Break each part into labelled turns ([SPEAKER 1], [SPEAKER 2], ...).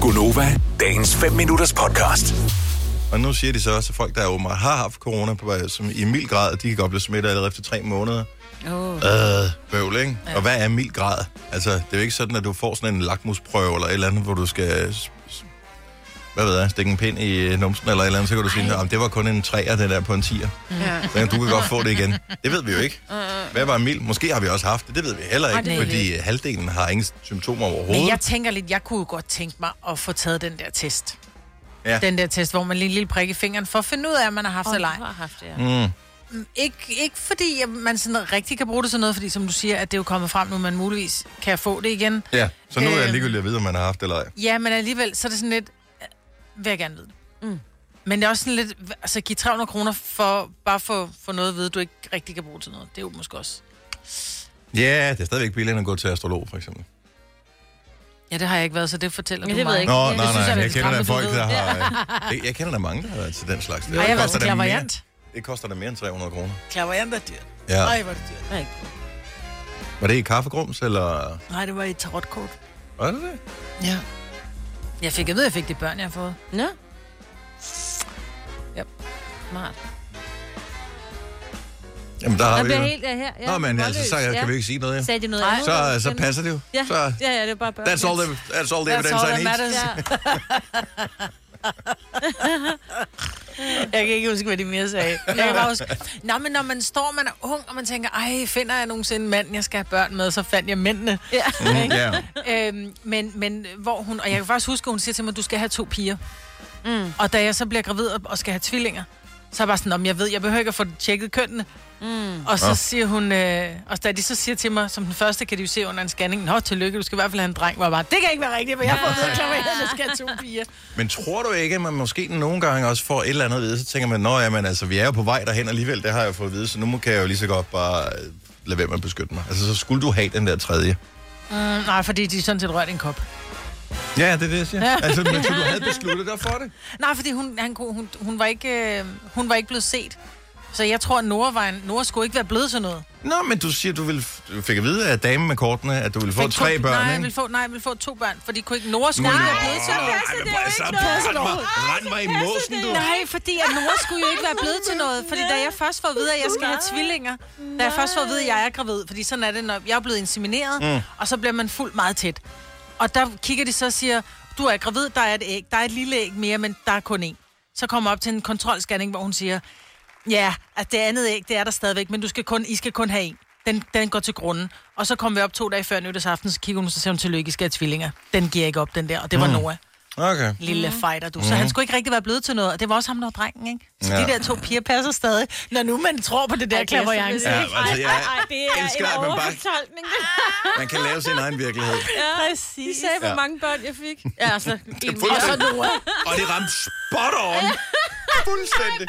[SPEAKER 1] Gunova, dagens 5 minutters podcast.
[SPEAKER 2] Og nu siger de så også, at folk, der åbenbart har haft corona, på, vej- som i mild grad, de kan godt blive smittet allerede efter tre måneder.
[SPEAKER 3] Oh.
[SPEAKER 2] Øh, bøvl, ikke? Ja. Og hvad er mild grad? Altså, det er jo ikke sådan, at du får sådan en lakmusprøve eller et eller andet, hvor du skal s- s- hvad ved jeg, stikke en pind i øh, numsen eller et eller andet, så kan du sige, at det var kun en træer, det der på en tier.
[SPEAKER 4] Ja.
[SPEAKER 2] Så du kan godt få det igen. Det ved vi jo ikke. Hvad var mild? Måske har vi også haft det, det ved vi heller
[SPEAKER 4] Nej, det
[SPEAKER 2] ikke,
[SPEAKER 4] ved vi
[SPEAKER 2] fordi halvdelen har ingen symptomer overhovedet.
[SPEAKER 4] Men jeg tænker lidt, jeg kunne jo godt tænke mig at få taget den der test.
[SPEAKER 2] Ja.
[SPEAKER 4] Ja. Den der test, hvor man lige en lille prik i fingeren for at finde ud af, om man har haft oh,
[SPEAKER 3] Om
[SPEAKER 4] eller ej.
[SPEAKER 3] du har haft det, ja.
[SPEAKER 2] Mm.
[SPEAKER 4] Ikke, ikke fordi at man sådan rigtig kan bruge det sådan noget, fordi som du siger, at det er jo kommet frem nu, man muligvis kan få det igen.
[SPEAKER 2] Ja, så nu er jeg
[SPEAKER 4] Øhm.
[SPEAKER 2] ligegyldigt at vide, om man har haft det eller ej.
[SPEAKER 4] Ja, men alligevel, så er det sådan lidt, øh, vil jeg gerne vide det. Mm. Men det er også sådan lidt, hva- altså give 300 kroner for bare for, for noget at vide, du ikke rigtig kan bruge til noget. Det er jo måske også.
[SPEAKER 2] Ja, det er stadigvæk billigere end at gå til astrolog, for eksempel.
[SPEAKER 4] Ja, det har jeg ikke været, så det fortæller
[SPEAKER 3] Ja,
[SPEAKER 4] du
[SPEAKER 3] det
[SPEAKER 4] mig.
[SPEAKER 3] ved jeg ikke.
[SPEAKER 2] Nå,
[SPEAKER 3] Det
[SPEAKER 2] nej,
[SPEAKER 3] synes
[SPEAKER 2] nej,
[SPEAKER 3] jeg,
[SPEAKER 2] jeg,
[SPEAKER 3] man
[SPEAKER 2] jeg
[SPEAKER 3] skal
[SPEAKER 2] kender da
[SPEAKER 3] stramme, du
[SPEAKER 2] folk,
[SPEAKER 3] ved.
[SPEAKER 2] der har... øh, Jeg, jeg kender da mange, der har været til den slags. der.
[SPEAKER 4] Ej, jeg har været
[SPEAKER 2] koster
[SPEAKER 4] til
[SPEAKER 2] da mere,
[SPEAKER 4] klaverant.
[SPEAKER 2] det koster da mere end 300 kroner.
[SPEAKER 4] Klaverant er dyrt.
[SPEAKER 2] Ja.
[SPEAKER 4] Nej, hvor er det dyrt.
[SPEAKER 3] Nej, ikke.
[SPEAKER 2] Var det i kaffegrums, eller...
[SPEAKER 4] Nej, det var et tarotkort.
[SPEAKER 2] Var det det?
[SPEAKER 4] Ja. Jeg fik, jeg ved, jeg fik det børn, jeg har fået.
[SPEAKER 3] Nå.
[SPEAKER 4] Ja.
[SPEAKER 3] Smart.
[SPEAKER 2] Jamen, der har
[SPEAKER 3] Jeg
[SPEAKER 2] vi
[SPEAKER 3] bliver
[SPEAKER 2] jo...
[SPEAKER 3] helt ja, her. Ja,
[SPEAKER 2] Nå, men altså, så
[SPEAKER 3] målløs,
[SPEAKER 2] kan vi ikke sige noget,
[SPEAKER 3] ja.
[SPEAKER 2] ja.
[SPEAKER 3] Sagde de noget
[SPEAKER 4] Nej.
[SPEAKER 3] andet?
[SPEAKER 2] Så, så passer det jo.
[SPEAKER 3] Ja,
[SPEAKER 2] Så,
[SPEAKER 3] ja, ja, det var bare børn.
[SPEAKER 2] that's all the, that's all the
[SPEAKER 4] That's all
[SPEAKER 2] evidence I
[SPEAKER 4] that
[SPEAKER 2] need.
[SPEAKER 4] matters.
[SPEAKER 3] Ja.
[SPEAKER 4] Jeg kan ikke huske, hvad de mere sagde. Jeg kan bare huske. Nå, men når man står, man er ung, og man tænker, ej, finder jeg nogensinde manden, jeg skal have børn med, så fandt jeg mændene.
[SPEAKER 3] Ja.
[SPEAKER 2] Mm, ja.
[SPEAKER 4] øhm, men, men hvor hun, og jeg kan faktisk huske, at hun siger til mig, du skal have to piger. Mm. Og da jeg så bliver gravid og- og skal have tvillinger, så er jeg bare sådan, om jeg ved, jeg behøver ikke at få tjekket kønnene. Mm. Og så
[SPEAKER 2] Nå.
[SPEAKER 4] siger hun, øh, og da de så siger til mig, som den første kan de jo se under en scanning, nå, tillykke, du skal i hvert fald have en dreng, hvor jeg bare, det kan ikke være rigtigt, for jeg har fået vedklaret, at jeg skal have to piger.
[SPEAKER 2] Men tror du ikke, at man måske nogle gange også får et eller andet at vide, så tænker man, nå, jamen, altså, vi er jo på vej derhen alligevel, det har jeg fået at vide, så nu må- kan jeg jo lige så godt bare øh, lade være med at beskytte mig. Altså, så skulle du have den der tredje.
[SPEAKER 4] Mm, nej, fordi de sådan set rørte en kop.
[SPEAKER 2] Ja, det er det, jeg siger. Altså, men så du havde besluttet dig for det.
[SPEAKER 4] Nej, fordi hun, han, kunne- hun, hun, var ikke, øh, hun var ikke blevet set. Så jeg tror, at Nora, var en, Nora skulle ikke være blevet til noget.
[SPEAKER 2] Nå, men du siger, du, ville, du fik at vide af damen med kortene, at du ville få
[SPEAKER 4] Fik
[SPEAKER 2] tre
[SPEAKER 4] to,
[SPEAKER 2] børn,
[SPEAKER 4] nej, jeg
[SPEAKER 2] ikke?
[SPEAKER 4] ville få, nej, jeg ville få to børn, fordi kunne ikke Nora skulle ikke være blevet til noget.
[SPEAKER 3] passer det jo
[SPEAKER 2] så
[SPEAKER 3] ikke
[SPEAKER 2] passer
[SPEAKER 3] noget.
[SPEAKER 2] mig, rend mig i måsen, du.
[SPEAKER 4] Nej, fordi at Nora skulle jo ikke være blevet til noget. Fordi da jeg først får at vide, at jeg skal have tvillinger, da jeg først får at vide, at jeg er gravid, fordi sådan er det, når jeg er blevet insemineret, mm. og så bliver man fuldt meget tæt. Og der kigger de så og siger, du er gravid, der er et æg, der er et lille æg mere, men der er kun én. Så kommer jeg op til en kontrolscanning, hvor hun siger, ja, at det andet æg, det er der stadigvæk, men du skal kun, I skal kun have en. Den, den går til grunden. Og så kom vi op to dage før nytårsaften, så kigger hun, så siger hun, tillykke, I skal have tvillinger. Den giver ikke op, den der, og det var mm. Noah
[SPEAKER 2] Okay.
[SPEAKER 4] lille mm. fighter, du. Så han skulle ikke rigtig være blevet til noget, og det var også ham, der var drengen, ikke? Så
[SPEAKER 2] Ja.
[SPEAKER 4] ja. de der to piger passer stadig, når nu man tror på det der klaverjance.
[SPEAKER 2] Ja,
[SPEAKER 3] Ja,
[SPEAKER 2] altså, jeg
[SPEAKER 3] Ej, det er
[SPEAKER 2] elsker, at
[SPEAKER 3] en
[SPEAKER 2] man bare-
[SPEAKER 3] overfortolkning.
[SPEAKER 2] Man kan lave sin egen virkelighed.
[SPEAKER 3] Ja, de
[SPEAKER 4] Præcis.
[SPEAKER 3] sagde, hvor
[SPEAKER 2] Ja.
[SPEAKER 3] mange børn jeg fik. Ja, altså, en
[SPEAKER 2] fuldt-
[SPEAKER 4] Og så Nora.
[SPEAKER 2] Og det ramte spot on. Fuldstændig.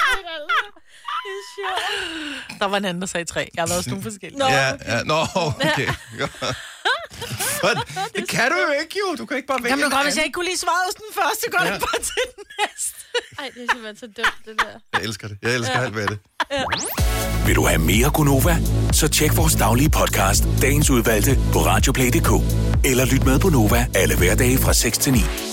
[SPEAKER 4] Der var en anden, der sagde tre. Jeg har været sådan nogle forskellige.
[SPEAKER 2] Ja, ja. Nå, okay. Hvad? det kan du jo ikke, jo. Du kan ikke bare vælge.
[SPEAKER 4] Jamen, nu
[SPEAKER 2] en
[SPEAKER 4] godt, hvis jeg
[SPEAKER 2] anden.
[SPEAKER 4] ikke kunne lige svare hos den første, går det bare til den næste.
[SPEAKER 3] Ej, det er simpelthen så dumt, det der.
[SPEAKER 2] Jeg elsker det. Jeg elsker alt ved det.
[SPEAKER 1] Vil du have mere Gunova? Så tjek vores daglige podcast, dagens udvalgte, på radioplay.dk. Eller lyt med på Nova alle hverdage fra 6 til 9.